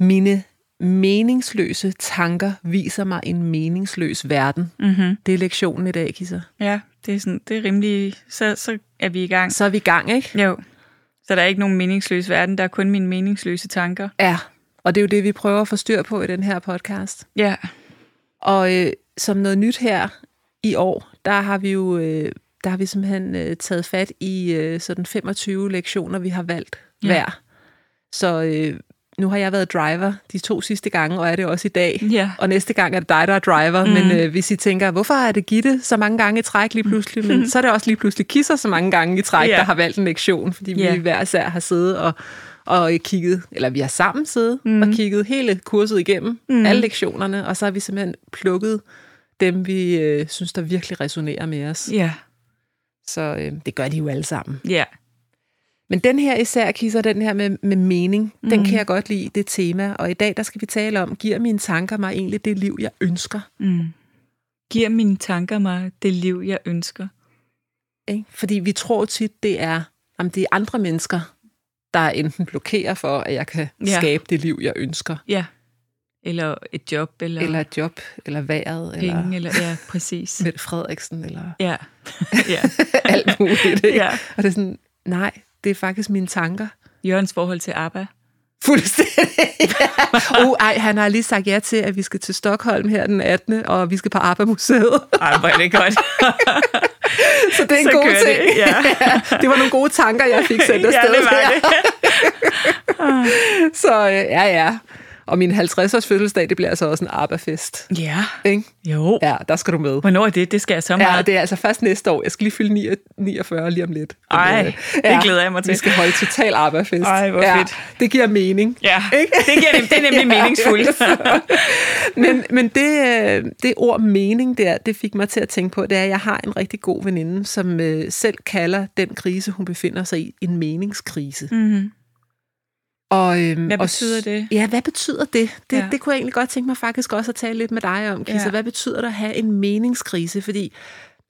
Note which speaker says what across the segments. Speaker 1: Mine meningsløse tanker viser mig en meningsløs verden.
Speaker 2: Mm-hmm.
Speaker 1: Det er lektionen i dag, Kisser.
Speaker 2: Ja, det er, sådan, det er rimelig... Så, så er vi i gang.
Speaker 1: Så er vi i gang, ikke?
Speaker 2: Jo. Så der er ikke nogen meningsløs verden, der er kun mine meningsløse tanker.
Speaker 1: Ja. Og det er jo det, vi prøver at få styr på i den her podcast.
Speaker 2: Ja.
Speaker 1: Og øh, som noget nyt her i år, der har vi jo øh, der har vi simpelthen øh, taget fat i øh, sådan 25 lektioner, vi har valgt
Speaker 2: Ja.
Speaker 1: hver. Så øh, nu har jeg været driver de to sidste gange, og er det også i dag.
Speaker 2: Ja.
Speaker 1: Og næste gang er det dig, der er driver. Mm. Men øh, hvis I tænker, hvorfor er det Gitte så mange gange i træk lige pludselig? Men så er det også lige pludselig Kisser så mange gange i
Speaker 2: Ja.
Speaker 1: træk, Mm. ja. der har valgt en lektion, fordi vi
Speaker 2: Ja.
Speaker 1: hver især har siddet og, og kigget, eller vi har sammen siddet mm. og kigget hele kurset igennem, mm. alle lektionerne, og så har vi simpelthen plukket dem, vi øh, synes, der virkelig resonerer med os.
Speaker 2: Ja.
Speaker 1: Så øh, det gør de jo alle sammen.
Speaker 2: Ja.
Speaker 1: Men den her især, Kisser, den her med, med mening, mm. den kan jeg godt lide, det tema. Og i dag, der skal vi tale om, giver mine tanker mig egentlig det liv, jeg ønsker?
Speaker 2: Mm. Giver mine tanker mig det liv, jeg ønsker?
Speaker 1: Ikke? Fordi vi tror tit, det er, om det er andre mennesker, der enten blokerer for, at jeg kan
Speaker 2: Ja.
Speaker 1: ja. skabe det liv, jeg ønsker.
Speaker 2: Ja. Eller et job, eller,
Speaker 1: Eller et job, eller vejret,
Speaker 2: penge, eller,
Speaker 1: eller
Speaker 2: eller ja, præcis.
Speaker 1: Mette Frederiksen, eller
Speaker 2: ja. ja.
Speaker 1: alt muligt. Ikke?
Speaker 2: Ja.
Speaker 1: Og det er sådan, nej, det er faktisk mine tanker.
Speaker 2: Jørgens forhold til ABBA.
Speaker 1: Fuldstændig. ja. Uh, ej, han har lige sagt ja til, at vi skal til Stockholm her den 18. Og vi skal på ABBA-museet.
Speaker 2: Ej, hvor er det godt.
Speaker 1: Så det er en
Speaker 2: Så
Speaker 1: god
Speaker 2: kører
Speaker 1: ting.
Speaker 2: det, ja.
Speaker 1: det var nogle gode tanker, jeg fik sendt
Speaker 2: ja,
Speaker 1: afsted.
Speaker 2: det var
Speaker 1: der.
Speaker 2: det.
Speaker 1: Så øh, ja, ja. Og min 50-års fødselsdag, det bliver altså også en ABBA-fest.
Speaker 2: Ja.
Speaker 1: Ikke?
Speaker 2: Jo.
Speaker 1: Ja, der skal du med.
Speaker 2: Hvornår er det? Det skal jeg så meget.
Speaker 1: Ja, det er altså først næste år. Jeg skal lige fylde 9 49 lige om lidt. Men,
Speaker 2: Ej,
Speaker 1: øh,
Speaker 2: det glæder jeg mig til.
Speaker 1: Vi skal holde total ABBA-fest.
Speaker 2: Ej, hvor
Speaker 1: ja,
Speaker 2: fedt.
Speaker 1: Det giver mening.
Speaker 2: ja. Det, giver, nem- det er nemlig
Speaker 1: Ja.
Speaker 2: meningsfuldt.
Speaker 1: Men, men det, øh, det ord mening der, det fik mig til at tænke på, det er, at jeg har en rigtig god veninde, som øh, selv kalder den krise, hun befinder sig i, en meningskrise.
Speaker 2: mm-hmm.
Speaker 1: Og, øhm,
Speaker 2: Hvad
Speaker 1: og
Speaker 2: betyder
Speaker 1: s-
Speaker 2: det?
Speaker 1: Ja, hvad betyder det? Det,
Speaker 2: Ja.
Speaker 1: ja. det kunne jeg egentlig godt tænke mig faktisk også at tale lidt med dig om, Kisa.
Speaker 2: Ja.
Speaker 1: Ja. Hvad betyder det at have en meningskrise? Fordi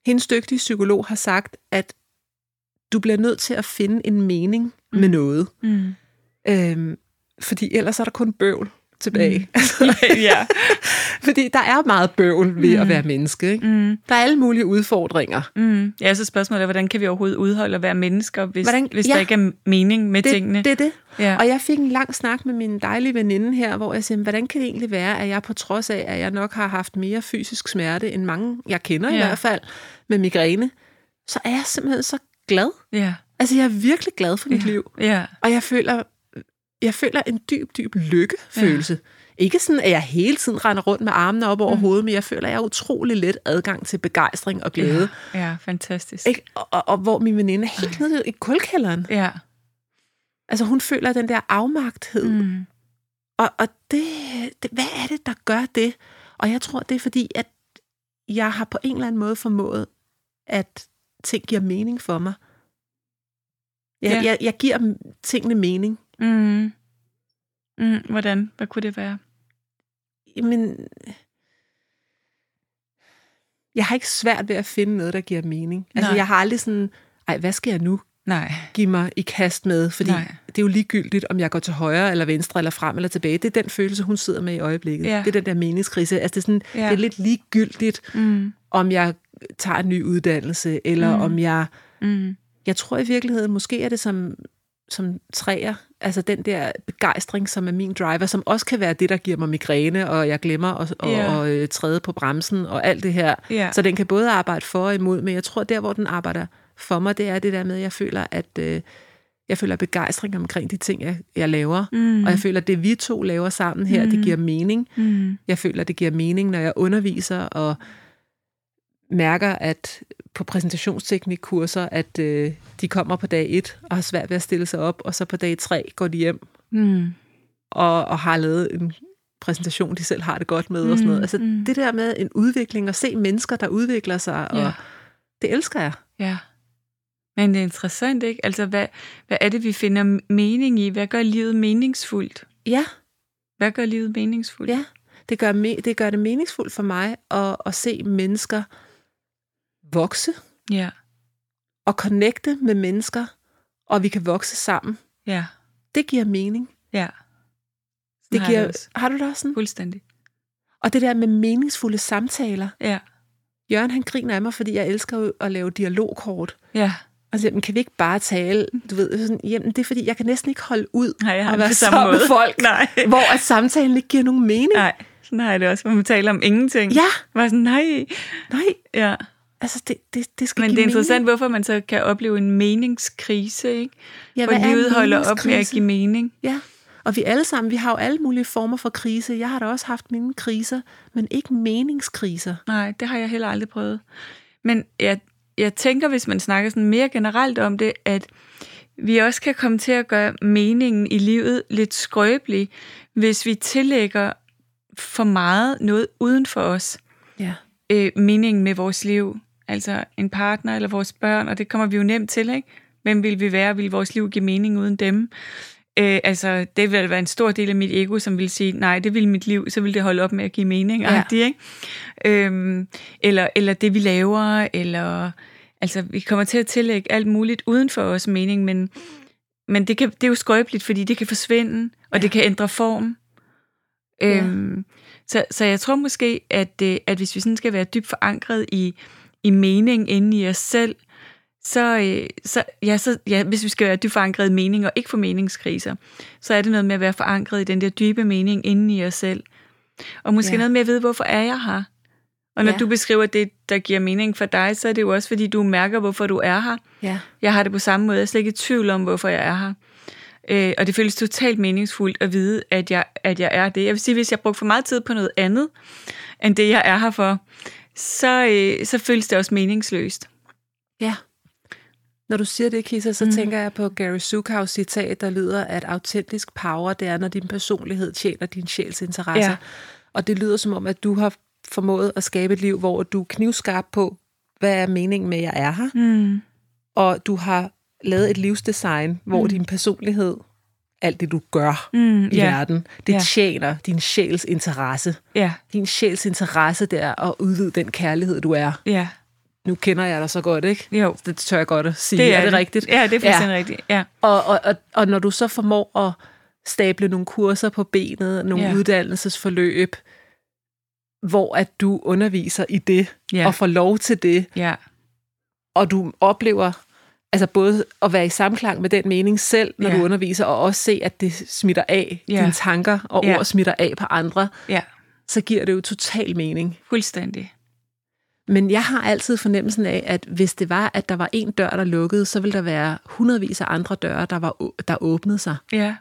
Speaker 1: hendes dygtige psykolog har sagt, at du bliver nødt til at finde en mening mm. med noget.
Speaker 2: Mm.
Speaker 1: Øhm, fordi ellers er der kun bøvl tilbage. Mm.
Speaker 2: ja.
Speaker 1: fordi der er meget bøvl ved mm. at være menneske. Ikke?
Speaker 2: Mm.
Speaker 1: Der er alle mulige udfordringer.
Speaker 2: Mm. Ja, så spørgsmålet er, hvordan kan vi overhovedet udholde at være mennesker, hvis,
Speaker 1: Hvordan-
Speaker 2: hvis
Speaker 1: ja.
Speaker 2: der ikke er mening med tingene?
Speaker 1: Det, det er det.
Speaker 2: ja.
Speaker 1: Og jeg fik en lang snak med min dejlige veninde her, hvor jeg siger, hvordan kan det egentlig være, at jeg på trods af, at jeg nok har haft mere fysisk smerte end mange, jeg kender ja. i
Speaker 2: Ja.
Speaker 1: hvert fald, med migræne, så er jeg simpelthen så glad.
Speaker 2: ja.
Speaker 1: Altså, jeg er virkelig glad for mit
Speaker 2: ja.
Speaker 1: ja. liv.
Speaker 2: Ja.
Speaker 1: Og jeg føler, jeg føler en dyb, dyb lykkefølelse. Ja. Ikke sådan, at jeg hele tiden render rundt med armene op over mm. hovedet, men jeg føler, at jeg har utrolig let adgang til begejstring og glæde. Ja.
Speaker 2: ja, fantastisk.
Speaker 1: Ikke? Og, og, og hvor min veninde er helt nede i kulkælderen.
Speaker 2: Ja.
Speaker 1: Altså, hun føler den der afmagthed. Mm.
Speaker 2: Mm.
Speaker 1: Og, og det, det, hvad er det, der gør det? Og jeg tror, det er fordi, at jeg har på en eller anden måde formået, at ting giver mening for mig. Jeg,
Speaker 2: Ja.
Speaker 1: ja. jeg, jeg giver dem- tingene mening.
Speaker 2: Mm. Mm. Hvordan? Hvad kunne det være?
Speaker 1: Men jeg har ikke svært ved at finde noget, der giver mening. Altså,
Speaker 2: Nej.
Speaker 1: jeg har aldrig sådan, ej, hvad skal jeg nu
Speaker 2: Nej.
Speaker 1: give mig i kast med? Fordi
Speaker 2: Nej.
Speaker 1: Nej. det er jo ligegyldigt, om jeg går til højre eller venstre eller frem eller tilbage. Det er den følelse, hun sidder med i øjeblikket.
Speaker 2: Ja.
Speaker 1: Det er den der meningskrise. Altså, det er, sådan,
Speaker 2: Ja.
Speaker 1: ja. det er lidt ligegyldigt,
Speaker 2: Mm.
Speaker 1: om jeg tager en ny uddannelse, eller
Speaker 2: Mm.
Speaker 1: mm. om jeg...
Speaker 2: Mm.
Speaker 1: Jeg tror i virkeligheden, måske er det som, som træer, altså den der begejstring, som er min driver, som også kan være det, der giver mig migræne, og jeg glemmer at, at,
Speaker 2: Ja.
Speaker 1: yeah. at, at træde på bremsen og alt det her.
Speaker 2: Ja.
Speaker 1: Så den kan både arbejde for og imod, men jeg tror, der hvor den arbejder for mig, det er det der med, at jeg føler, at øh, jeg føler begejstring omkring de ting, jeg, jeg laver.
Speaker 2: Mm.
Speaker 1: Og jeg føler, at det vi to laver sammen her, mm. det
Speaker 2: Mm.
Speaker 1: giver mening.
Speaker 2: mm.
Speaker 1: Jeg føler, det giver mening, når jeg underviser og mærker, at på præsentationsteknikkurser, at øh, de kommer på dag 1 og har svært ved at stille sig op, og så på dag 3 går de hjem
Speaker 2: Mm.
Speaker 1: og, og har lavet en præsentation, de selv har det godt med og sådan noget.
Speaker 2: Mm,
Speaker 1: Altså
Speaker 2: mm.
Speaker 1: det der med en udvikling, og se mennesker, der udvikler sig, og
Speaker 2: Ja.
Speaker 1: det elsker jeg.
Speaker 2: Ja. Men det er interessant, ikke? Altså, hvad, hvad er det, vi finder mening i? Hvad gør livet meningsfuldt?
Speaker 1: Ja,
Speaker 2: Hvad gør livet meningsfuldt?
Speaker 1: Ja, det gør, me- det gør det meningsfuldt for mig at, at se mennesker vokse
Speaker 2: Ja.
Speaker 1: og connecte med mennesker, og vi kan vokse sammen.
Speaker 2: Ja.
Speaker 1: Det giver mening.
Speaker 2: ja. Sådan
Speaker 1: Det
Speaker 2: har jeg
Speaker 1: giver,
Speaker 2: også.
Speaker 1: har du det også sådan?
Speaker 2: Fuldstændig.
Speaker 1: Og det der med meningsfulde samtaler.
Speaker 2: Ja.
Speaker 1: Jørgen han griner af mig, fordi jeg elsker jo at lave dialogkort.
Speaker 2: Ja.
Speaker 1: Og så siger, "Men kan vi ikke bare tale? Du ved, sådan, jamen det er fordi, jeg kan næsten ikke holde ud
Speaker 2: Nej, jeg har
Speaker 1: og
Speaker 2: det
Speaker 1: være
Speaker 2: på samme
Speaker 1: sammen med
Speaker 2: måde.
Speaker 1: folk,
Speaker 2: Nej.
Speaker 1: hvor at samtalen ikke giver nogen mening.
Speaker 2: Nej. Sådan har jeg det også, hvor man taler om ingenting.
Speaker 1: Ja,
Speaker 2: Var sådan, nej.
Speaker 1: nej,
Speaker 2: Ja.
Speaker 1: altså det, det, det skal
Speaker 2: Men
Speaker 1: give
Speaker 2: det er interessant,
Speaker 1: mening.
Speaker 2: hvorfor man så kan opleve en meningskrise, ikke?
Speaker 1: Ja,
Speaker 2: hvor
Speaker 1: hvad er en
Speaker 2: livet holder op med at
Speaker 1: meningskrise?
Speaker 2: give mening.
Speaker 1: Ja, og vi alle sammen, vi har jo alle mulige former for krise. Jeg har da også haft mine kriser, men ikke meningskriser.
Speaker 2: Nej, det har jeg heller aldrig prøvet. Men jeg, jeg tænker, hvis man snakker sådan mere generelt om det, at vi også kan komme til at gøre meningen i livet lidt skrøbelig, hvis vi tillægger for meget noget uden for os
Speaker 1: Ja.
Speaker 2: øh, meningen med vores liv. Altså en partner eller vores børn, og det kommer vi jo nemt til, ikke? Hvem vil vi være? Vil vores liv give mening uden dem? Øh, altså, det vil være en stor del af mit ego, som vil sige, nej, det vil mit liv, så vil det holde op med at give mening.
Speaker 1: Ja.
Speaker 2: Ja. Ikke? Øhm, eller, eller det, vi laver, eller... Altså, vi kommer til at tillægge alt muligt uden for os mening, men, men det, kan, det er jo skrøbeligt, fordi det kan forsvinde, og ja. det kan ændre form.
Speaker 1: Ja.
Speaker 2: Øhm, så, så jeg tror måske, at, øh, at hvis vi sådan skal være dybt forankret i, i mening inde i os selv, så, øh, så, ja, så ja, hvis vi skal være dybt forankret i mening og ikke for meningskriser, så er det noget med at være forankret i den der dybe mening inde i os selv. Og måske
Speaker 1: Ja.
Speaker 2: ja. noget med at vide, hvorfor er jeg her? Og når
Speaker 1: Ja.
Speaker 2: ja. du beskriver det, der giver mening for dig, så er det jo også, fordi du mærker, hvorfor du er her.
Speaker 1: Ja.
Speaker 2: Jeg har det på samme måde. Jeg er slet ikke i tvivl om, hvorfor jeg er her. Øh, og det føles totalt meningsfuldt at vide, at jeg, at jeg er det. Jeg vil sige, hvis jeg brugte for meget tid på noget andet, end det, jeg er her for, så, øh, så føles det også meningsløst.
Speaker 1: ja. Når du siger det, Kisa,
Speaker 2: Mhm.
Speaker 1: så mm. tænker jeg på Gary Zukaus citat, der lyder, at autentisk power, det er, når din personlighed tjener din sjæls interesser. Ja.
Speaker 2: Ja.
Speaker 1: Og det lyder som om, at du har formået at skabe et liv, hvor du er knivskarp på, hvad er meningen med, at jeg er her?
Speaker 2: Mm.
Speaker 1: Og du har lavet et livsdesign, hvor mm.
Speaker 2: Mhm.
Speaker 1: din personlighed, alt det du gør,
Speaker 2: Mm,
Speaker 1: i
Speaker 2: ja.
Speaker 1: verden. Det
Speaker 2: Ja.
Speaker 1: tjener din sjæls interesse.
Speaker 2: Ja,
Speaker 1: Din sjæls interesse, det er at udvide den kærlighed, du er.
Speaker 2: ja.
Speaker 1: Nu kender jeg dig så godt, ikke?
Speaker 2: Jo,
Speaker 1: Det tør jeg godt at sige. er det, rigtigt?
Speaker 2: Ja, det er fuldstændig ja. rigtigt. Ja.
Speaker 1: Og, og, og, og når du så formår at stable nogle kurser på benet, nogle
Speaker 2: Ja.
Speaker 1: uddannelsesforløb, hvor at du underviser i det,
Speaker 2: Ja.
Speaker 1: og får lov til det,
Speaker 2: Ja.
Speaker 1: og du oplever altså både at være i samklang med den mening selv, når
Speaker 2: Ja.
Speaker 1: du underviser, og også se, at det smitter af.
Speaker 2: Ja.
Speaker 1: Dine tanker og
Speaker 2: Ja.
Speaker 1: ord smitter af på andre.
Speaker 2: ja,
Speaker 1: så giver det jo total mening.
Speaker 2: fuldstændig.
Speaker 1: Men jeg har altid fornemmelsen af, at hvis det var, at der var en dør, der lukkede, så ville der være hundredvis af andre døre, der, var, å- der åbnede sig.
Speaker 2: Ja,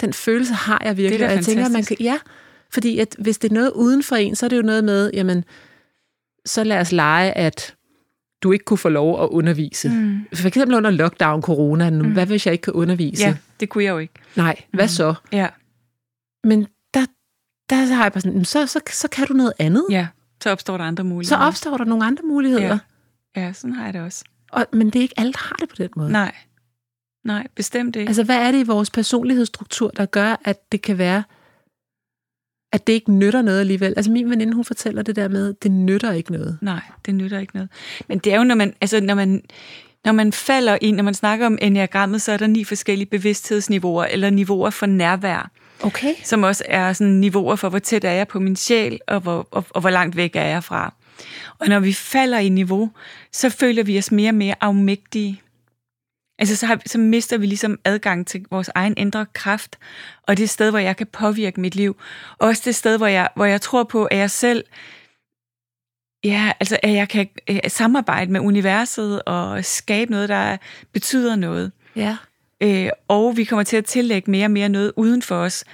Speaker 1: Den følelse har jeg virkelig.
Speaker 2: Det er da
Speaker 1: og jeg tænker, at man kan,
Speaker 2: fantastisk.
Speaker 1: ja, fordi at hvis det er noget uden for en, så er det jo noget med, jamen, så lad os lege, at du ikke kunne få lov at undervise. Mm. For eksempel under lockdown, corona, nu, mm. hvad hvis jeg ikke kan undervise?
Speaker 2: ja det kunne jeg jo ikke. Mm.
Speaker 1: Nej, hvad så?
Speaker 2: Ja,
Speaker 1: Men der, der har jeg bare sådan, "Jamen, så, så, så kan du noget andet.
Speaker 2: ja. Så opstår der andre
Speaker 1: Så
Speaker 2: muligheder.
Speaker 1: opstår der nogle andre muligheder.
Speaker 2: Ja. Ja, sådan har jeg det også.
Speaker 1: Og, men det er ikke alle, der har det på den måde.
Speaker 2: Nej, nej, bestemt ikke.
Speaker 1: Altså, hvad er det i vores personlighedsstruktur, der gør, at det kan være, at det ikke nytter noget alligevel? Altså, min veninde, hun fortæller det der med, det nytter ikke noget.
Speaker 2: Nej, det nytter ikke noget. Men det er jo, når man, altså, når man, når man falder ind, når man snakker om enagrammet, så er der ni forskellige bevidsthedsniveauer, eller niveauer for nærvær,
Speaker 1: Okay.
Speaker 2: som også er sådan niveauer for, hvor tæt er jeg på min sjæl, og hvor, og, og hvor langt væk er jeg fra. Og når vi falder i niveau, så føler vi os mere og mere afmægtige. Altså, så, har, så mister vi ligesom adgang til vores egen indre kraft, og det sted, hvor jeg kan påvirke mit liv. Også det sted, hvor jeg, hvor jeg tror på, at jeg selv Ja, altså at jeg kan øh, samarbejde med universet og skabe noget, der betyder noget.
Speaker 1: Ja.
Speaker 2: Øh, og vi kommer til at tillægge mere og mere noget uden for os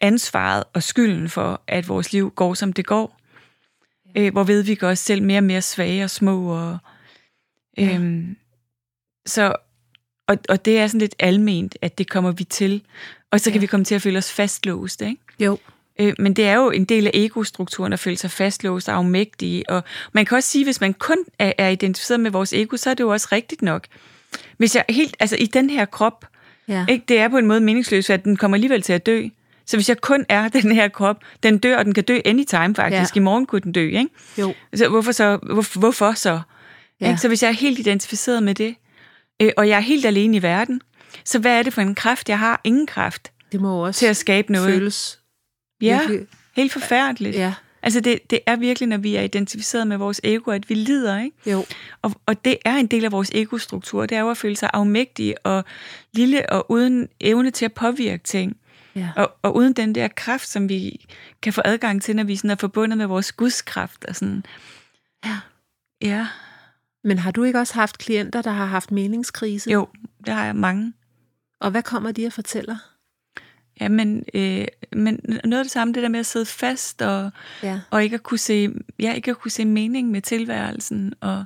Speaker 2: ansvaret og skylden for, at vores liv går, som det går. Øh, hvorved vi gør os selv mere og mere svage og små. Og, øhm, Så, og, og det er sådan lidt alment, at det kommer vi til. Og så kan
Speaker 1: Ja.
Speaker 2: vi komme til at føle os fastlåst, ikke?
Speaker 1: Jo.
Speaker 2: Øh, men det er jo en del af egostrukturen at føle sig fastlåst og afmægtig. Og man kan også sige, at hvis man kun er, er identificeret med vores ego, så er det jo også rigtigt nok. Hvis jeg helt, altså i den her krop,
Speaker 1: Ja.
Speaker 2: ikke, det er på en måde meningsløst, for at den kommer alligevel til at dø. Så hvis jeg kun er den her krop, den dør, og den kan dø anytime faktisk. Ja. I
Speaker 1: Ja.
Speaker 2: morgen kunne den dø, ikke?
Speaker 1: Jo.
Speaker 2: Så hvorfor så? Hvor, hvorfor så?
Speaker 1: Ja.
Speaker 2: Ja. Så hvis jeg er helt identificeret med det, øh, og jeg er helt alene i verden, så hvad er det for en kraft, jeg har? Ingen kraft
Speaker 1: Det må jo også
Speaker 2: til at skabe noget.
Speaker 1: føles.
Speaker 2: ja,
Speaker 1: virkelig-
Speaker 2: helt forfærdeligt.
Speaker 1: Ja.
Speaker 2: Altså det, det er virkelig, når vi er identificeret med vores ego, at vi lider, ikke?
Speaker 1: Jo.
Speaker 2: Og, og det er en del af vores egostruktur, det er jo at føle sig afmægtig og lille og uden evne til at påvirke ting.
Speaker 1: Ja.
Speaker 2: Og, og uden den der kraft, som vi kan få adgang til, når vi sådan er forbundet med vores gudskraft og sådan.
Speaker 1: Ja.
Speaker 2: Ja,
Speaker 1: Men har du ikke også haft klienter, der har haft meningskrise?
Speaker 2: jo, der har jeg mange.
Speaker 1: Og hvad kommer de og fortæller?
Speaker 2: Ja, men, øh, men noget af det samme, det der med at sidde fast og,
Speaker 1: Ja.
Speaker 2: og ikke at kunne se, ja, ikke at kunne se mening med tilværelsen. Og,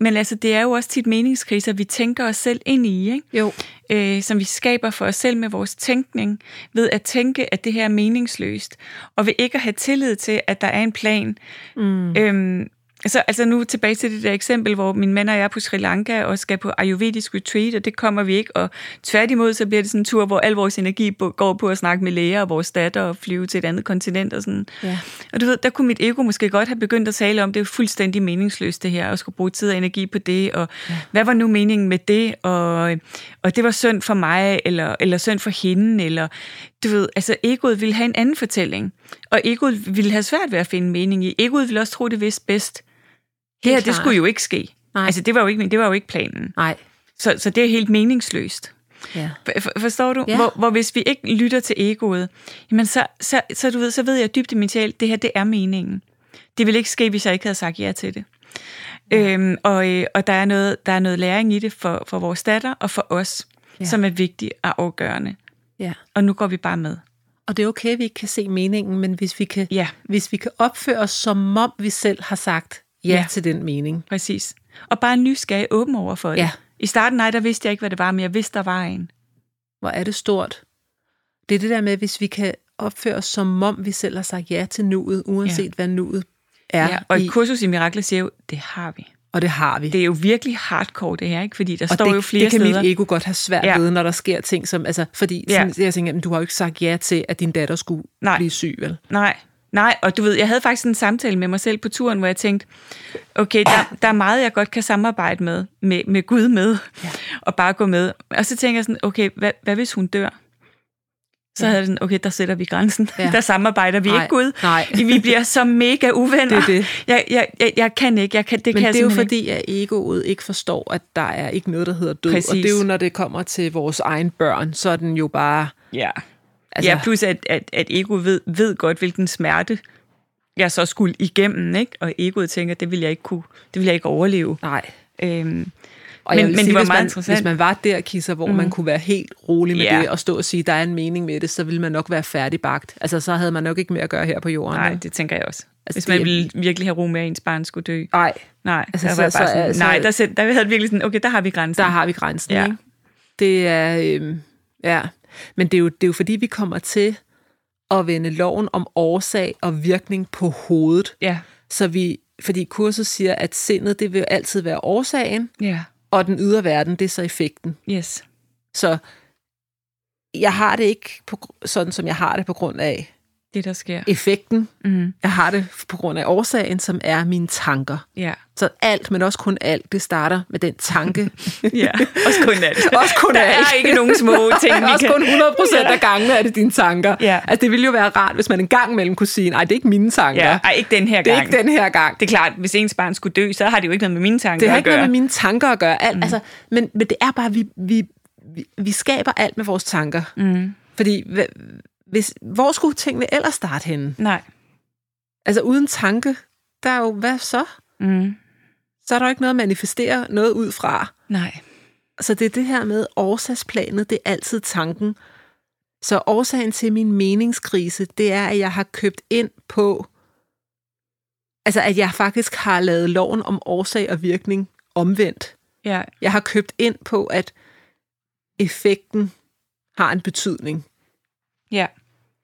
Speaker 2: men altså, det er jo også tit meningskriser, vi tænker os selv ind i, ikke?
Speaker 1: Jo.
Speaker 2: Øh, som vi skaber for os selv med vores tænkning, ved at tænke, at det her er meningsløst, og ved ikke at have tillid til, at der er en plan.
Speaker 1: Mm.
Speaker 2: Øhm, så altså nu tilbage til det der eksempel, hvor min mand og jeg er på Sri Lanka og skal på ayurvedisk retreat, og det kommer vi ikke. Og tværtimod, så bliver det sådan en tur, hvor al vores energi bo- går på at snakke med læger og vores datter og flyve til et andet kontinent og sådan.
Speaker 1: Ja.
Speaker 2: Og du ved, der kunne mit ego måske godt have begyndt at tale om, det er fuldstændig meningsløst det her, og skulle bruge tid og energi på det, og ja. hvad var nu meningen med det, og, og det var synd for mig, eller, eller synd for hende, eller du ved, altså egoet ville have en anden fortælling, og egoet ville have svært ved at finde mening i. Egoet ville også tro, det vidste bedst. Det her, det
Speaker 1: klart.
Speaker 2: skulle jo ikke ske.
Speaker 1: Nej.
Speaker 2: Altså, det var jo ikke, det var jo ikke planen.
Speaker 1: Nej.
Speaker 2: Så, så det er helt meningsløst.
Speaker 1: Ja.
Speaker 2: For- for- Forstår du?
Speaker 1: Ja.
Speaker 2: Hvor, hvor hvis vi ikke lytter til egoet, jamen så, så, så, du ved, så ved jeg dybt i min sjæl, det her det er meningen. Det ville ikke ske, hvis jeg ikke havde sagt ja til det. Øhm, og øh, og der, er noget, der er noget læring i det for, for vores datter og for os, ja.
Speaker 1: Ja.
Speaker 2: som er vigtigt og afgørende.
Speaker 1: ja.
Speaker 2: Og nu går vi bare med.
Speaker 1: Og det er okay, at vi ikke kan se meningen, men hvis vi kan,
Speaker 2: Ja.
Speaker 1: hvis vi kan opføre os, som om vi selv har sagt ja,
Speaker 2: Ja.
Speaker 1: ja. til den mening.
Speaker 2: Præcis. Og bare nysgerrig åben over for det.
Speaker 1: Ja.
Speaker 2: I starten, nej, der vidste jeg ikke, hvad det var, men jeg vidste, der var en.
Speaker 1: Hvor er det stort. Det er det der med, hvis vi kan opføre os, som om vi selv har sagt ja til nuet, uanset ja. hvad nuet er.
Speaker 2: Ja, og
Speaker 1: i,
Speaker 2: et kursus i Mirakler siger jo, det har vi.
Speaker 1: og det har vi.
Speaker 2: Det er jo virkelig hardcore, det her, ikke? Fordi der
Speaker 1: og
Speaker 2: står
Speaker 1: det,
Speaker 2: jo flere
Speaker 1: det kan
Speaker 2: steder.
Speaker 1: mit ego godt have svært
Speaker 2: Ja.
Speaker 1: ja. ved, når der sker ting som, altså, fordi
Speaker 2: Ja.
Speaker 1: ja. sådan, jeg tænker, jamen, du har jo ikke sagt ja til, at din datter skulle
Speaker 2: Nej.
Speaker 1: Nej. blive syg, vel?
Speaker 2: Nej, nej, og du ved, jeg havde faktisk en samtale med mig selv på turen, hvor jeg tænkte, okay, der, der er meget, jeg godt kan samarbejde med, med, med Gud med, ja. og bare gå med. Og så tænker jeg sådan, okay, hvad, hvad hvis hun dør? Så havde jeg sådan, okay, der sætter vi grænsen. Ja.
Speaker 1: Ja.
Speaker 2: Der samarbejder vi
Speaker 1: Nej,
Speaker 2: ikke, Gud.
Speaker 1: nej.
Speaker 2: Vi bliver så mega uvenner.
Speaker 1: Det er det.
Speaker 2: Jeg, jeg, jeg, jeg kan ikke, jeg kan, det
Speaker 1: Men
Speaker 2: kan
Speaker 1: det er jo
Speaker 2: jeg simpelthen
Speaker 1: fordi, at egoet ikke forstår, at der er ikke noget, der hedder død.
Speaker 2: Præcis.
Speaker 1: Og det er jo, når det kommer til vores egen børn, så er den jo bare...
Speaker 2: ikke. Ja. Altså,
Speaker 1: Altså-
Speaker 2: ja, plus at, at, at ego ved, ved godt, hvilken smerte jeg så skulle igennem, ikke? Og egoet tænker, det vil jeg ikke kunne, det vil jeg ikke overleve.
Speaker 1: Nej.
Speaker 2: Øhm,
Speaker 1: Og
Speaker 2: Men-
Speaker 1: vil
Speaker 2: men det var meget
Speaker 1: hvis man,
Speaker 2: interessant.
Speaker 1: Hvis man var der, Kisser, hvor mm. man kunne være helt rolig med
Speaker 2: Ja.
Speaker 1: yeah. det, og stå og sige, at der er en mening med det, så ville man nok være færdigbagt. Altså, så havde man nok ikke mere at gøre her på jorden.
Speaker 2: Nej,
Speaker 1: vel?
Speaker 2: det tænker jeg også. Altså,
Speaker 1: Altså,
Speaker 2: Hvis
Speaker 1: det
Speaker 2: man
Speaker 1: er-
Speaker 2: ville virkelig have ro med, at ens barn skulle dø.
Speaker 1: Nej.
Speaker 2: Nej, altså,
Speaker 1: Altså,
Speaker 2: der
Speaker 1: så-
Speaker 2: var jeg bare sådan,
Speaker 1: så- så-
Speaker 2: nej, der, sæt- der havde jeg virkelig sådan, okay, der har vi grænsen.
Speaker 1: Der har vi grænsen,
Speaker 2: Ja.
Speaker 1: ja. ikke? Det er... Øhm, ja. Men det er, jo, det er jo, fordi vi kommer til at vende loven om årsag og virkning på hovedet.
Speaker 2: Ja,
Speaker 1: Så vi, fordi kurset siger, at sindet, det vil altid være årsagen,
Speaker 2: ja,
Speaker 1: og den ydre verden, det er så effekten.
Speaker 2: yes.
Speaker 1: Så jeg har det ikke på, gr- sådan, som jeg har det på grund af,
Speaker 2: det, der sker.
Speaker 1: effekten.
Speaker 2: Mm.
Speaker 1: Jeg har det på grund af årsagen, som er mine tanker.
Speaker 2: Ja.
Speaker 1: Så alt, men også kun alt, det starter med den tanke.
Speaker 2: ja, også kun alt.
Speaker 1: også kun
Speaker 2: Der
Speaker 1: alt.
Speaker 2: er ikke nogen små ting, vi
Speaker 1: Nej, også
Speaker 2: kan...
Speaker 1: kun 100 procent af gangene er det dine tanker.
Speaker 2: Ja.
Speaker 1: Altså, det ville jo være rart, hvis man en gang imellem kunne sige, nej, det er ikke mine tanker.
Speaker 2: Ja, ej, ikke den her gang.
Speaker 1: det er ikke den her gang.
Speaker 2: Det er klart, hvis ens barn skulle dø, så har det jo ikke noget med mine tanker
Speaker 1: Det har
Speaker 2: at
Speaker 1: ikke
Speaker 2: gøre.
Speaker 1: noget med mine tanker at gøre. Alt, mm. altså, men, men det er bare, vi, vi, vi- vi skaber alt med vores tanker.
Speaker 2: Mm.
Speaker 1: Fordi, hva- hvis, hvor skulle tingene ellers starte henne?
Speaker 2: Nej.
Speaker 1: Altså, uden tanke, der er jo, hvad så?
Speaker 2: Mm.
Speaker 1: Så er der jo ikke noget at manifestere noget ud fra.
Speaker 2: Nej.
Speaker 1: Så det er det her med årsagsplanet, det er altid tanken. Så årsagen til min meningskrise, det er, at jeg har købt ind på, altså at jeg faktisk har lavet loven om årsag og virkning omvendt.
Speaker 2: Ja.
Speaker 1: Jeg har købt ind på, at effekten har en betydning.
Speaker 2: ja.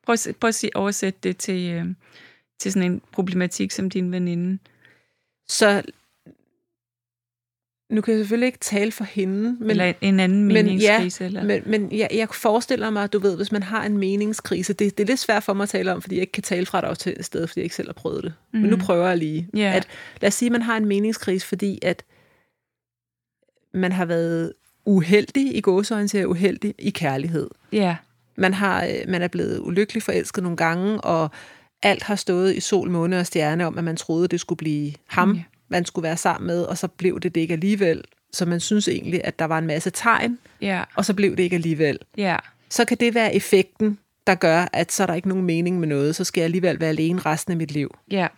Speaker 2: Prøv, at, se- prøv at sige, oversætte det til, øh, til sådan en problematik som din veninde.
Speaker 1: Så nu kan jeg selvfølgelig ikke tale for hende, men,
Speaker 2: eller en anden
Speaker 1: men ja,
Speaker 2: meningskrise. eller...
Speaker 1: men, men jeg, jeg forestiller mig, du ved, hvis man har en meningskrise, det, det er lidt svært for mig at tale om, fordi jeg ikke kan tale fra dig til et sted, fordi jeg ikke selv har prøvet det. Mm. Men nu
Speaker 2: Mhm.
Speaker 1: prøver jeg lige.
Speaker 2: Ja.
Speaker 1: At, lad os sige, at man har en meningskrise, fordi at man har været uheldig, i gåsøjne siger jeg uheldig, i kærlighed.
Speaker 2: ja.
Speaker 1: man, har, øh, man er blevet ulykkelig forelsket nogle gange, og alt har stået i sol, måne og stjerne om, at man troede, det skulle blive ham,
Speaker 2: Ja.
Speaker 1: man skulle være sammen med, og så blev det det ikke alligevel. Så man synes egentlig, at der var en masse tegn,
Speaker 2: Ja.
Speaker 1: og så blev det ikke alligevel.
Speaker 2: Ja.
Speaker 1: Så kan det være effekten, der gør, at så er der ikke nogen mening med noget, så skal jeg alligevel være alene resten af mit liv.
Speaker 2: Ja.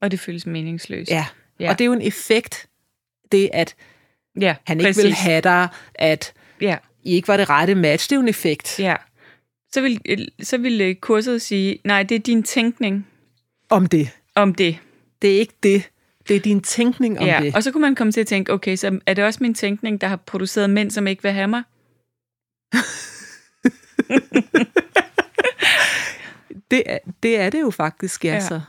Speaker 2: Og det føles meningsløst.
Speaker 1: Ja.
Speaker 2: Ja.
Speaker 1: ja. Og det er jo en effekt, det at
Speaker 2: ja
Speaker 1: han ikke vil have dig, at
Speaker 2: Ja.
Speaker 1: I ikke var det rette match, det er jo en effekt.
Speaker 2: Ja. Så vil, øh, så vil øh, kurset sige, nej, det er din tænkning
Speaker 1: Om det.
Speaker 2: om det.
Speaker 1: Det er ikke det. Det er din tænkning om
Speaker 2: ja.
Speaker 1: det.
Speaker 2: Og så kunne man komme til at tænke, okay, så er det også min tænkning, der har produceret mænd, som ikke vil have mig?
Speaker 1: Det er, det er det jo faktisk, ja,
Speaker 2: Ja.
Speaker 1: ja. så.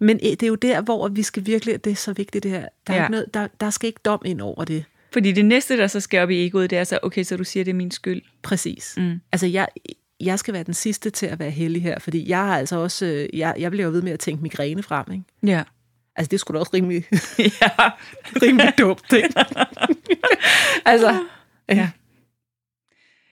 Speaker 1: Men eh, det er jo der, hvor vi skal virkelig, det er så vigtigt det her. Der, er
Speaker 2: Ja.
Speaker 1: ikke noget, der, der skal ikke dom ind over det.
Speaker 2: Fordi det næste, der så skal op i egoet, det er så, okay, så du siger, det er min skyld.
Speaker 1: Præcis.
Speaker 2: Mm.
Speaker 1: Altså, jeg, jeg skal være den sidste til at være heldig her, fordi jeg har altså også, øh, jeg, jeg bliver jo ved med at tænke migræne frem, ikke?
Speaker 2: Ja.
Speaker 1: Altså, det skulle da også rimelig,
Speaker 2: ja.
Speaker 1: rimelig dumt, ikke? altså,
Speaker 2: Ja.
Speaker 1: ja.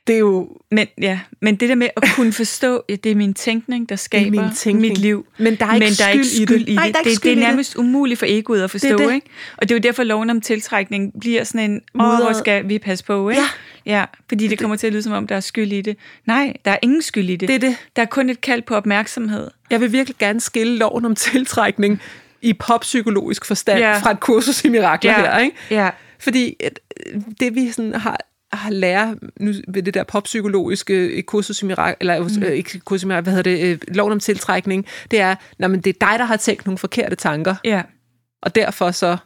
Speaker 1: det er jo,
Speaker 2: Men, ja. Men det der med at kunne forstå, at det er min tænkning, der
Speaker 1: det er
Speaker 2: skaber
Speaker 1: min tænkning.
Speaker 2: mit liv.
Speaker 1: Men der er ikke,
Speaker 2: men der er ikke skyld i det.
Speaker 1: Nej, der er ikke
Speaker 2: det,
Speaker 1: skyld
Speaker 2: det
Speaker 1: i
Speaker 2: er
Speaker 1: det.
Speaker 2: nærmest umuligt for egoet at forstå,
Speaker 1: Det er det.
Speaker 2: ikke? Og det er jo derfor, loven om tiltrækning bliver sådan en, åh, hvor
Speaker 1: Mudret.
Speaker 2: skal vi passe på, ikke?
Speaker 1: Ja.
Speaker 2: ja fordi det kommer til at lyde, som om der er skyld i det. Nej, der er ingen skyld i det.
Speaker 1: Det er det.
Speaker 2: Der er kun et kald på opmærksomhed.
Speaker 1: Jeg vil virkelig gerne skille loven om tiltrækning i poppsykologisk forstand
Speaker 2: Ja.
Speaker 1: ja. fra et kursus i mirakler ja. her, ikke?
Speaker 2: ja.
Speaker 1: Fordi at, øh, det vi sådan har har lærer nu ved det der poppsykologiske øh, kursus i mirak, eller mm. øh, ikke kursus i mirak, hvad hedder det, øh, loven om tiltrækning, det er, nej, men det er dig, der har tænkt nogle forkerte tanker,
Speaker 2: Ja,
Speaker 1: og derfor så,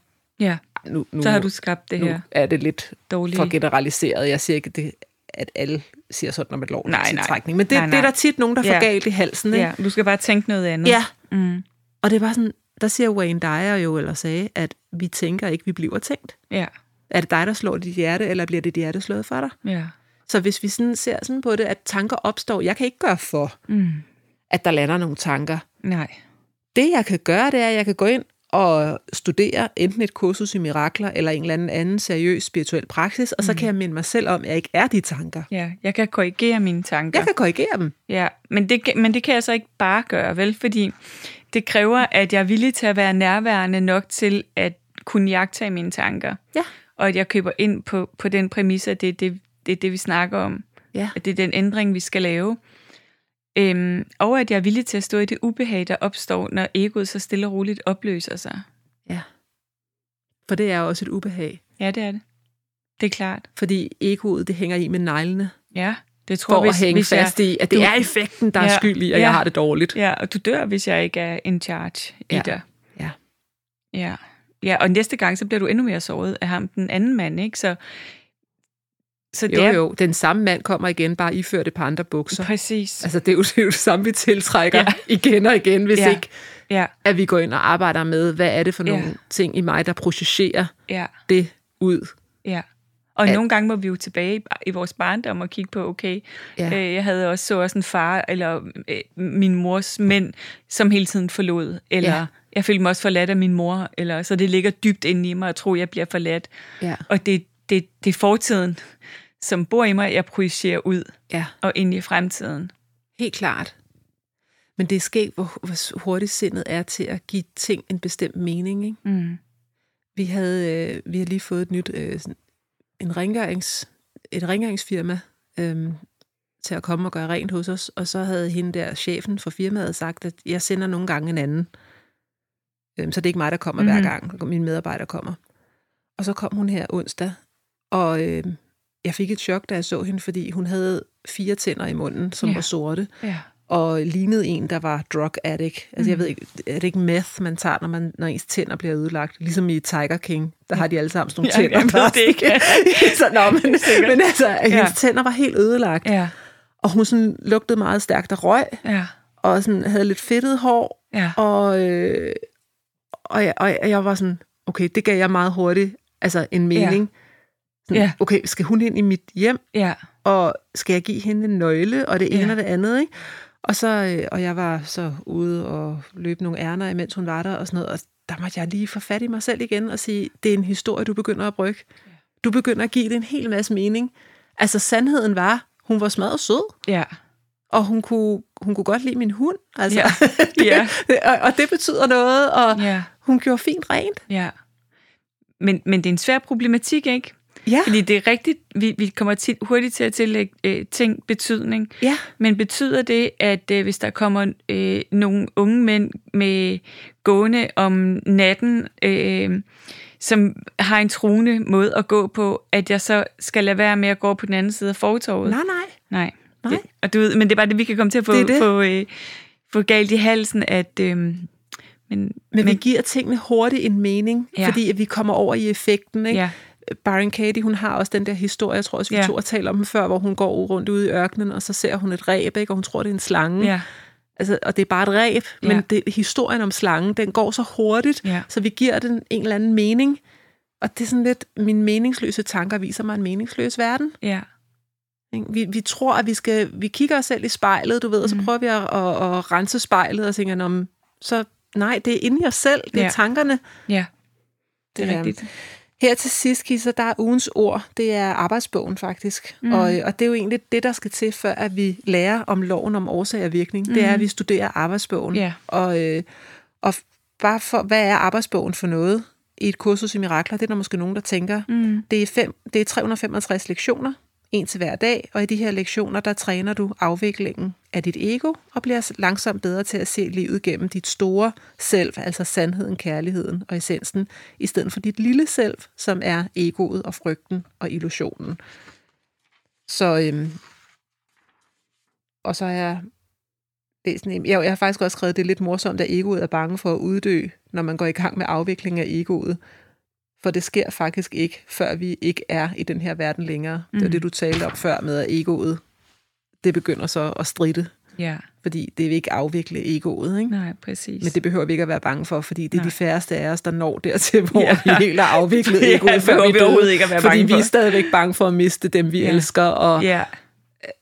Speaker 2: ja.
Speaker 1: nu, nu,
Speaker 2: Så har du skabt det her
Speaker 1: nu er det lidt
Speaker 2: dårlige...
Speaker 1: for generaliseret. Jeg siger ikke, det, at alle siger sådan om et loven
Speaker 2: Nej,
Speaker 1: om
Speaker 2: nej.
Speaker 1: tiltrækning, men det,
Speaker 2: Nej, nej.
Speaker 1: det er der tit nogen, der
Speaker 2: Ja.
Speaker 1: får galt i halsen, ikke?
Speaker 2: Ja, du skal bare tænke noget andet.
Speaker 1: Ja.
Speaker 2: Mm.
Speaker 1: Og det var sådan, der siger Wayne Dyer jo, eller sagde, at vi tænker ikke, vi bliver tænkt.
Speaker 2: Ja,
Speaker 1: Er det dig, der slår dit hjerte, eller bliver dit hjerte slået for dig?
Speaker 2: ja.
Speaker 1: Så hvis vi sådan ser sådan på det, at tanker opstår, jeg kan ikke gøre for,
Speaker 2: Mm.
Speaker 1: at der lander nogle tanker.
Speaker 2: Nej.
Speaker 1: Det, jeg kan gøre, det er, at jeg kan gå ind og studere enten et kursus i mirakler, eller en eller anden anden seriøs spirituel praksis, og så kan jeg minde mig selv om, at jeg ikke er de tanker.
Speaker 2: Ja, jeg kan korrigere mine tanker.
Speaker 1: Jeg kan korrigere dem.
Speaker 2: Ja, men det, kan- men det kan jeg så ikke bare gøre, vel? Fordi det kræver, at jeg er villig til at være nærværende nok til at kunne jagtage mine tanker.
Speaker 1: Ja.
Speaker 2: Og at jeg køber ind på, på den præmis, at det er det, det, er det, vi snakker om.
Speaker 1: Ja.
Speaker 2: At det er den ændring, vi skal lave. Øhm, og at jeg er villig til at stå i det ubehag, der opstår, når egoet så stille og roligt opløser sig.
Speaker 1: ja. For det er også et ubehag.
Speaker 2: Ja, det er det. Det er klart.
Speaker 1: Fordi egoet, det hænger i med neglene.
Speaker 2: Ja, det tror
Speaker 1: for
Speaker 2: jeg,
Speaker 1: at hænge hvis fast i, at det
Speaker 2: du-
Speaker 1: er effekten, der ja,
Speaker 2: Ja,
Speaker 1: er skyld i, at
Speaker 2: ja.
Speaker 1: ja. jeg har det dårligt.
Speaker 2: Jeg, ja, og du dør, hvis jeg ikke er in charge i
Speaker 1: Ja.
Speaker 2: dig.
Speaker 1: Ja.
Speaker 2: Ja. ja, og næste gang, så bliver du endnu mere såret af ham, den anden mand, ikke? Så, så det
Speaker 1: Jo,
Speaker 2: er
Speaker 1: jo, den samme mand kommer igen, bare iført et par andre bukser.
Speaker 2: præcis.
Speaker 1: Altså, det er jo det, er jo det samme, vi tiltrækker
Speaker 2: Ja.
Speaker 1: ja. igen og igen, hvis
Speaker 2: Ja.
Speaker 1: ja. ikke
Speaker 2: Ja,
Speaker 1: at vi går ind og arbejder med, hvad er det for
Speaker 2: Ja.
Speaker 1: nogle ting i mig, der projicerer
Speaker 2: ja,
Speaker 1: det ud.
Speaker 2: ja. Og
Speaker 1: At-
Speaker 2: nogle gange må vi jo tilbage i- i vores barndom og kigge på, okay,
Speaker 1: Ja.
Speaker 2: øh, jeg havde også så også en far, eller øh, min mors mænd, som hele tiden forlod, eller
Speaker 1: Ja.
Speaker 2: jeg følte mig også forladt af min mor, eller så det ligger dybt inde i mig, at tro, jeg bliver forladt.
Speaker 1: Ja.
Speaker 2: Og det, det, det er fortiden, som bor i mig, jeg projicerer ud
Speaker 1: ja.
Speaker 2: og ind i fremtiden.
Speaker 1: Helt klart. Men det er sket, hvor, hvor hurtigt sindet er til at give ting en bestemt mening. Ikke?
Speaker 2: Mm.
Speaker 1: Vi havde øh, vi har lige fået et nyt øh, sådan en rengørings, et rengøringsfirma øh, til at komme og gøre rent hos os, og så havde hende der, chefen for firmaet, sagt, at jeg sender nogle gange en anden. Øh, så det er ikke mig, der kommer mm. hver
Speaker 2: Mhm.
Speaker 1: gang, og min medarbejder kommer. Og så kom hun her onsdag, og øh, jeg fik et chok, da jeg så hende, fordi hun havde fire tænder i munden, som
Speaker 2: Ja.
Speaker 1: var sorte
Speaker 2: Ja.
Speaker 1: og lignede en, der var drug addict. Altså, mm.
Speaker 2: Mhm.
Speaker 1: jeg ved ikke, er det ikke meth, man tager, når, man, når ens tænder bliver ødelagt? Ligesom i Tiger King, der har de alle sammen sådan nogle
Speaker 2: Ja,
Speaker 1: tænder.
Speaker 2: jeg ved
Speaker 1: der-
Speaker 2: det ikke.
Speaker 1: så, nå, men,
Speaker 2: Sikkert.
Speaker 1: men altså, ja. hendes tænder var helt ødelagt.
Speaker 2: Ja,
Speaker 1: Og hun sådan lugtede meget stærkt af røg,
Speaker 2: ja,
Speaker 1: og sådan havde lidt fedtet hår.
Speaker 2: ja.
Speaker 1: Og, øh, og, jeg, og jeg- jeg var sådan, okay, det gav jeg meget hurtigt altså en mening. Sådan,
Speaker 2: Ja.
Speaker 1: Okay, skal hun ind i mit hjem?
Speaker 2: ja.
Speaker 1: og skal jeg give hende en nøgle, og det ene
Speaker 2: Ja.
Speaker 1: ja. og det andet, ikke? Og, så, øh, og jeg var så ude og løb nogle ærner, imens hun var der og sådan noget, og der måtte jeg lige få fat i mig selv igen og sige, det er en historie, du begynder at brygge. Du begynder at give det en hel masse mening. Altså sandheden var, hun var smadret sød,
Speaker 2: ja.
Speaker 1: og hun kunne, hun kunne godt lide min hund. Altså,
Speaker 2: Ja.
Speaker 1: det,
Speaker 2: Ja.
Speaker 1: og, og det betyder noget, og
Speaker 2: ja.
Speaker 1: hun gjorde fint rent.
Speaker 2: Ja. Men, men det er en svær problematik, ikke?
Speaker 1: Ja,
Speaker 2: Fordi det er rigtigt, vi, vi kommer tit, hurtigt til at tillægge øh, ting betydning.
Speaker 1: ja,
Speaker 2: Men betyder det, at øh, hvis der kommer øh, nogle unge mænd med gående om natten, øh, som har en truende måde at gå på, at jeg så skal lade være med at gå på den anden side af fortorvet?
Speaker 1: nej, nej.
Speaker 2: Nej.
Speaker 1: Nej.
Speaker 2: Det, og du ved, men det er bare det, vi kan komme til at få,
Speaker 1: Det er det.
Speaker 2: få, øh, få galt i halsen, at... Øh, men, men,
Speaker 1: Men, men vi giver tingene hurtigt en mening,
Speaker 2: Ja.
Speaker 1: ja. fordi at vi kommer over i effekten. Ikke?
Speaker 2: Ja.
Speaker 1: Byron Katie, hun har også den der historie, jeg tror også, vi
Speaker 2: Ja.
Speaker 1: ja. to har talt om den før, hvor hun går rundt ude i ørkenen, og så ser hun et ræb, ikke? og hun tror, det er en slange.
Speaker 2: ja,
Speaker 1: Altså, og det er bare et ræb,
Speaker 2: Ja.
Speaker 1: ja. men det, historien om slangen, den går så hurtigt,
Speaker 2: Ja.
Speaker 1: så vi giver den en eller anden mening. Og det er sådan lidt, mine meningsløse tanker viser mig en meningsløs verden.
Speaker 2: ja,
Speaker 1: Ikke? Vi, vi tror, at vi skal, vi kigger os selv i spejlet, du ved, og så
Speaker 2: Mm.
Speaker 1: prøver vi at, at, at rense spejlet og tænker, "Nå, men så nej, det er inde i os selv, det er
Speaker 2: Ja.
Speaker 1: ja. tankerne.
Speaker 2: ja. Det er
Speaker 1: Ja.
Speaker 2: rigtigt.
Speaker 1: Her til sidst, Kisser, der er ugens ord. Det er arbejdsbogen, faktisk. Mm. Og, øh, og det er jo egentlig det, der skal til, før at vi lærer om loven om årsag og virkning. Mm. Det er, at vi studerer arbejdsbogen.
Speaker 2: Ja.
Speaker 1: Og, øh, og f- bare for, hvad er arbejdsbogen for noget i et kursus i mirakler? Det er der måske nogen, der tænker. Mm. Det, er fem, det er 365 lektioner, en til hver dag. Og i de her lektioner, der træner du afviklingen af dit ego, og bliver langsomt bedre til at se livet gennem dit store selv, altså sandheden, kærligheden og essensen, i stedet for dit lille selv, som er egoet og frygten og illusionen. Så, øhm, og så har jeg læst en, jeg, jeg har faktisk også skrevet, det er lidt morsomt, at egoet er bange for at uddø, når man går i gang med afvikling af egoet. For det sker faktisk ikke, før vi ikke er i den her verden længere. Mm. Det var det, du talte om før med, at egoet, det begynder så at stride,
Speaker 2: Ja,
Speaker 1: fordi det vil ikke afvikle egoet. Ikke?
Speaker 2: nej, præcis.
Speaker 1: Men det behøver vi ikke at være bange for, fordi det er
Speaker 2: Nej.
Speaker 1: de færreste af os, der når dertil, hvor
Speaker 2: Ja.
Speaker 1: ja. vi helt har afviklet
Speaker 2: Ja,
Speaker 1: egoet, før
Speaker 2: behøver
Speaker 1: vi,
Speaker 2: vi
Speaker 1: døde,
Speaker 2: overhovedet ikke at være
Speaker 1: Fordi
Speaker 2: bange
Speaker 1: vi
Speaker 2: for.
Speaker 1: er stadigvæk bange for at miste dem, vi
Speaker 2: Ja.
Speaker 1: ja. elsker, og ja.
Speaker 2: Ja,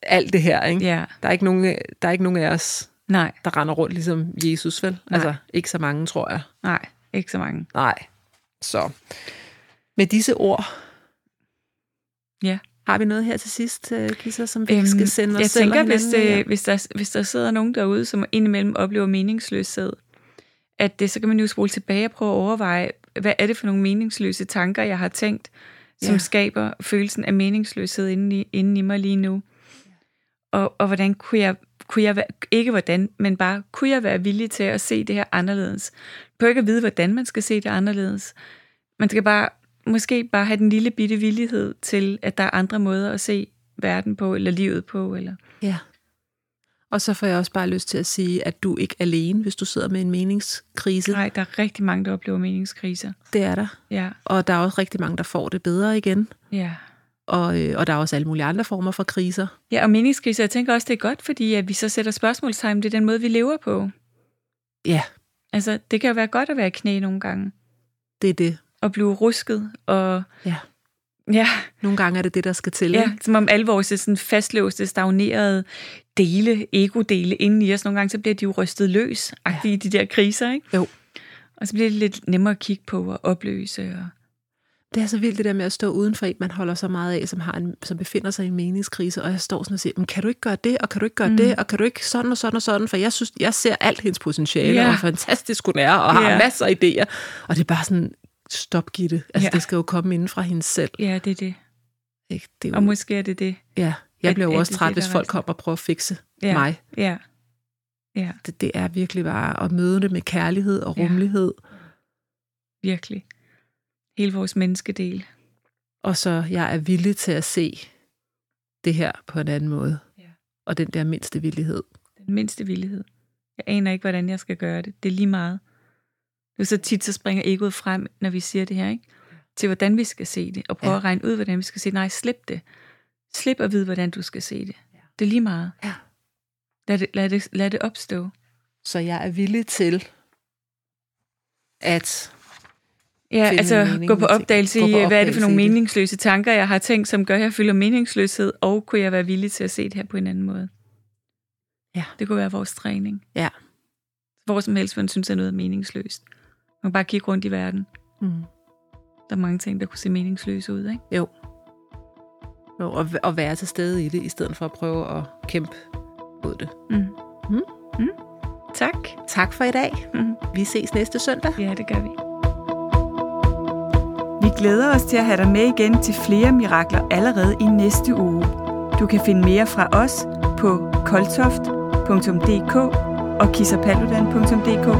Speaker 1: alt det her. Ikke?
Speaker 2: ja,
Speaker 1: Der, er ikke nogen, der er ikke nogen af os,
Speaker 2: nej,
Speaker 1: der render rundt ligesom Jesus, vel? Nej. Altså, ikke så mange, tror jeg.
Speaker 2: nej, ikke så mange.
Speaker 1: Nej. Så. Med disse ord,
Speaker 2: Ja.
Speaker 1: har vi noget her til sidst, øh, Kisser, som vi
Speaker 2: Øhm,
Speaker 1: skal sende os
Speaker 2: jeg
Speaker 1: selv og
Speaker 2: tænker, hvis,
Speaker 1: hinanden med?
Speaker 2: øh, hvis, der, hvis der sidder nogen derude, som indimellem oplever meningsløshed, at det, så kan man jo spole tilbage og prøve at overveje, hvad er det for nogle meningsløse tanker, jeg har tænkt, som ja.
Speaker 1: Ja.
Speaker 2: skaber følelsen af meningsløshed inde i, inde i mig lige nu. Og, og hvordan kunne jeg, kunne jeg være, ikke hvordan, men bare, kunne jeg være villig til at se det her anderledes? Du behøver ikke at vide, hvordan man skal se det anderledes. Man skal bare, måske bare have den lille bitte villighed til, at der er andre måder at se verden på, eller livet på, eller...
Speaker 1: Ja. Og så får jeg også bare lyst til at sige, at du ikke er alene, hvis du sidder med en meningskrise.
Speaker 2: Nej, der er rigtig mange, der oplever meningskriser.
Speaker 1: Det er der.
Speaker 2: Ja,
Speaker 1: Og der er også rigtig mange, der får det bedre igen.
Speaker 2: ja.
Speaker 1: Og, øh, og der er også alle mulige andre former for kriser.
Speaker 2: Ja, og meningskriser, jeg tænker også, det er godt, fordi at vi så sætter spørgsmålstegn ved den måde, vi lever på.
Speaker 1: Ja,
Speaker 2: Altså, det kan jo være godt at være i knæ nogle gange,
Speaker 1: det er det.
Speaker 2: og blive rusket, og
Speaker 1: Ja.
Speaker 2: Ja,
Speaker 1: Nogle gange er det det, der skal til.
Speaker 2: ja,
Speaker 1: ikke?
Speaker 2: som om alle vores sådan fastlåste, stagnerede dele, ego-dele inden i os, nogle gange så bliver de jo rystet løs ja. i de der kriser, ikke?
Speaker 1: Jo.
Speaker 2: Og så bliver det lidt nemmere at kigge på og opløse. Og...
Speaker 1: Det er så vildt det der med at stå uden for en, man holder så meget af, som, har en, som befinder sig i en meningskrise, og jeg står sådan og siger, "Men kan du ikke gøre det, og kan du ikke gøre mm. det, og kan du ikke sådan og sådan og sådan, for jeg synes, jeg ser alt hendes potentiale,
Speaker 2: Ja.
Speaker 1: yeah. og hvor fantastisk hun er, og har
Speaker 2: Ja.
Speaker 1: yeah. masser af idéer. Og det er bare sådan, stop Gitte. Altså,
Speaker 2: Ja.
Speaker 1: yeah. det skal jo komme inden fra hende selv.
Speaker 2: Ja, det er det.
Speaker 1: Ikke? Det er
Speaker 2: Og
Speaker 1: jo,
Speaker 2: måske er det det.
Speaker 1: ja. Jeg
Speaker 2: at-
Speaker 1: bliver jo
Speaker 2: at
Speaker 1: også
Speaker 2: det er
Speaker 1: træt,
Speaker 2: det,
Speaker 1: hvis
Speaker 2: der
Speaker 1: folk
Speaker 2: rejser.
Speaker 1: kommer og prøver at fikse
Speaker 2: Ja.
Speaker 1: yeah. mig.
Speaker 2: Ja. Ja,
Speaker 1: Det, det er virkelig bare at møde det med kærlighed og
Speaker 2: Ja.
Speaker 1: rummelighed,
Speaker 2: virkelig. Hele vores menneskedel.
Speaker 1: og så jeg er villig til at se det her på en anden måde.
Speaker 2: Ja.
Speaker 1: Og den der mindste villighed.
Speaker 2: Den mindste villighed. Jeg aner ikke, hvordan jeg skal gøre det. Det er lige meget. Nu så tit, så springer egoet frem, når vi siger det her, ikke? Til hvordan vi skal se det, og prøve
Speaker 1: Ja.
Speaker 2: ja. at regne ud, hvordan vi skal se det. Nej, slip det. Slip at vide, hvordan du skal se det.
Speaker 1: Ja.
Speaker 2: Det er lige meget.
Speaker 1: Ja.
Speaker 2: Lad det, lad det, lad det opstå.
Speaker 1: Så jeg er villig til at...
Speaker 2: Ja,
Speaker 1: Finde
Speaker 2: altså
Speaker 1: mening
Speaker 2: gå
Speaker 1: med
Speaker 2: på
Speaker 1: ting.
Speaker 2: opdagelse
Speaker 1: Gå på
Speaker 2: i, øh, hvad er det for
Speaker 1: opdagelse
Speaker 2: nogle
Speaker 1: i det.
Speaker 2: meningsløse tanker, jeg har tænkt, som gør, at jeg føler meningsløshed, og kunne jeg være villig til at se det her på en anden måde?
Speaker 1: Ja.
Speaker 2: Det kunne være vores træning.
Speaker 1: Ja.
Speaker 2: Hvor som helst, man synes, er noget er meningsløst. Man kan bare kigge rundt i verden.
Speaker 1: Mm.
Speaker 2: Der er mange ting, der kunne se meningsløse ud, ikke?
Speaker 1: Jo. jo og, og være til stede i det, i stedet for at prøve at kæmpe mod det.
Speaker 2: Mm.
Speaker 1: Mm.
Speaker 2: Mm. Tak.
Speaker 1: Tak for i dag.
Speaker 2: Mm.
Speaker 1: Vi ses næste søndag.
Speaker 2: Ja, det gør vi.
Speaker 3: Vi glæder os til at have dig med igen til flere mirakler allerede i næste uge. Du kan finde mere fra os på koltoft.dk og kissapaludan.dk